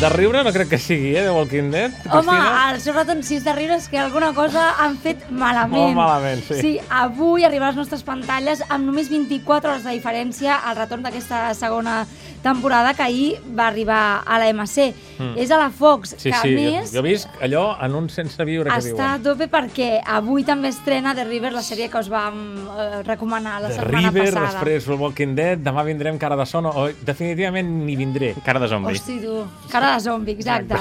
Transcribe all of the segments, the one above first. De riure no crec que sigui, eh, de Walking Dead, Home, Cristina? el seu retenció de riure és que alguna cosa han fet malament. Molt malament, sí. Sí, avui arribarà a les nostres pantalles amb només 24 hores de diferència al retorn d'aquesta segona temporada que ahir va arribar a la MC. Mm. És a la Fox, Sí, que a sí, més jo, jo visc allò en un sense viure que està a diuen. tope perquè avui també estrena The River, la sèrie que us vam eh, recomanar la The setmana River, passada. després The Walking Dead, demà vindrem cara de son, o definitivament ni vindré. Cara de zombi. Hosti, tu. Cara de zombi, exacte.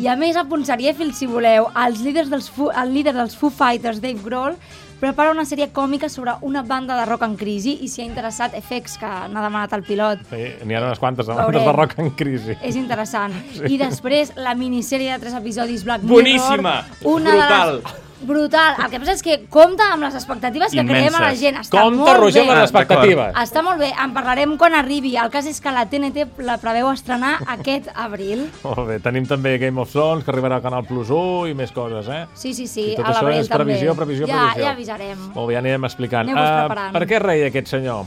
I a més, a punt serièfil, si voleu, els líders dels Foo, el líder dels Foo Fighters, Dave Grohl, prepara una sèrie còmica sobre una banda de rock en crisi i s'hi ha interessat FX, que n'ha demanat el pilot. Sí, N'hi ha unes quantes Veurem. demandes de rock en crisi. És interessant. Sí. I després, la minissèrie de tres episodis, Black Boníssima! Mirror. Una Brutal! De les... Brutal. El que passa és que compta amb les expectatives que Immenses. creem a la gent. Està Compte, molt Roger, bé. Ah, amb les expectatives. Està molt bé, en parlarem quan arribi. El cas és que la TNT la preveu estrenar aquest abril. Molt bé, tenim també Game of Thrones, que arribarà a Canal Plus 1 i més coses, eh? Sí, sí, sí, I tot a això l'abril és previsió, també. previsió, ja, previsió. Oh. Ja avisarem. Molt bé, ja anirem explicant. Aneu-vos Ah, preparant. per què reia aquest senyor?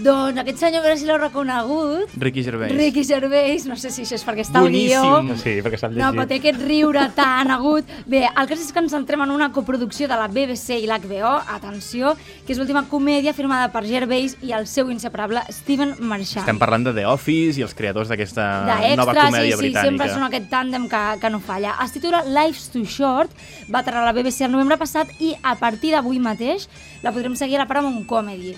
Doncs aquest senyor, a veure si l'heu reconegut, Ricky Gervais. Ricky Gervais, no sé si això és perquè està al Boníssim. guió. Sí, perquè s'ha llegit. No, però té aquest riure tan agut. Bé, el cas és que ens centrem en una coproducció de la BBC i l'HBO, atenció, que és l'última comèdia firmada per Gervais i el seu inseparable Steven Marchand. Estem parlant de The Office i els creadors d'aquesta d'extra, nova comèdia sí, sí, britànica. sempre són aquest tàndem que, que no falla. Es titula Life's Too Short, va aterrar a la BBC el novembre passat i a partir d'avui mateix la podrem seguir a la Paramount Comedy.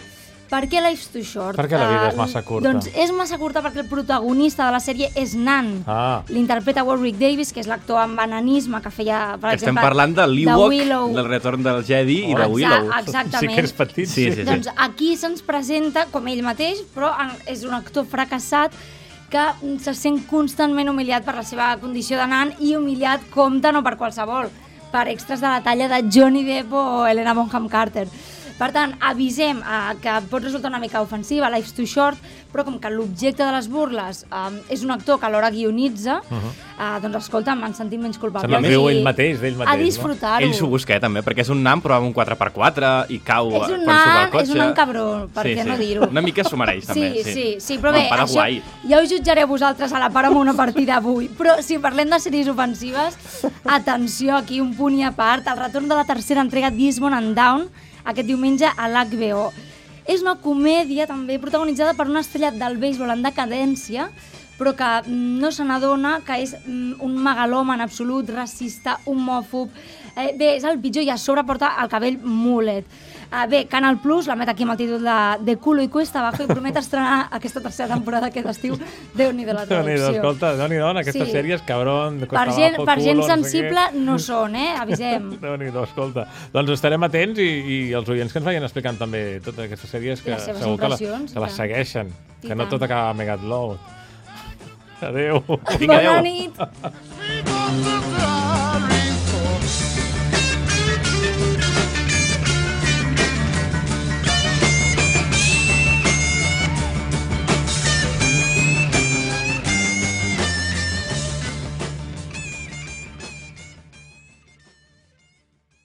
Per què Life's Too Short? Perquè la vida és Eh, massa curta. Doncs és massa curta perquè el protagonista de la sèrie és Nan. Ah. L'interpreta Warwick Davis, que és l'actor amb bananisme que feia, per Que estem exemple, parlant de de l'Ewok, Willow. del retorn del Jedi i de Exacte, Willow. exactament. Sí que és petit, Sí, sí, sí. Doncs aquí se'ns presenta com ell mateix, però en- és un actor fracassat que se sent constantment humiliat per la seva condició de nan i humiliat compte no per qualsevol, per extras de la talla de Johnny Depp o Helena Bonham Carter. Per tant, avisem eh, que pot resultar una mica ofensiva, Life's Too Short, però com que l'objecte de les burles eh, és un actor que alhora guionitza, uh -huh. eh, doncs escolta'm, ens sentim menys culpables. Se'n Uh-huh. riu I ell mateix, d'ell mateix, A no? disfrutar-ho. Ell s'ho busca, eh, també, perquè és un nan, però amb un 4x4 i cau És eh, un quan surt al nan, cotxe. és un nan cabró, per què no dir-ho? Una mica s'ho mereix, també. Sí, sí, sí, però bé, Bon pare això guai. ja ho jutjareu vosaltres a la part amb una partida avui. Però si parlem de sèries ofensives, atenció, aquí un punt i a part, el retorn de la tercera entrega d'Isbon and Down, aquest diumenge a l'HBO. És una comèdia també protagonitzada per una estrella del béisbol en decadència, però que mm, no se n'adona que és mm, un megalòman absolut, racista, homòfob... Eh, bé, és el pitjor i a sobre porta el cabell mulet. Ah, bé, Canal Plus, la meta aquí amb el títol de De culo i cuesta abajo i promet estrenar aquesta tercera temporada aquest estiu. Déu-n'hi-do la Déu-n'hi-do, traducció. escolta, déu-n'hi-do, en aquestes Sí. sèries, cabron, per costa gent, abajo, per gent culo, no sé què. sensible no són, eh? Avisem. Déu-n'hi-do, escolta. Doncs estarem atents i, i els oients que ens vagin explicant també tota totes aquestes sèries I que les seves segur que, la, impressions, que les i tant. segueixen, I que no tant. tot acaba a Megatlow. Adéu. Vinga, Bona adéu. nit. He goes to the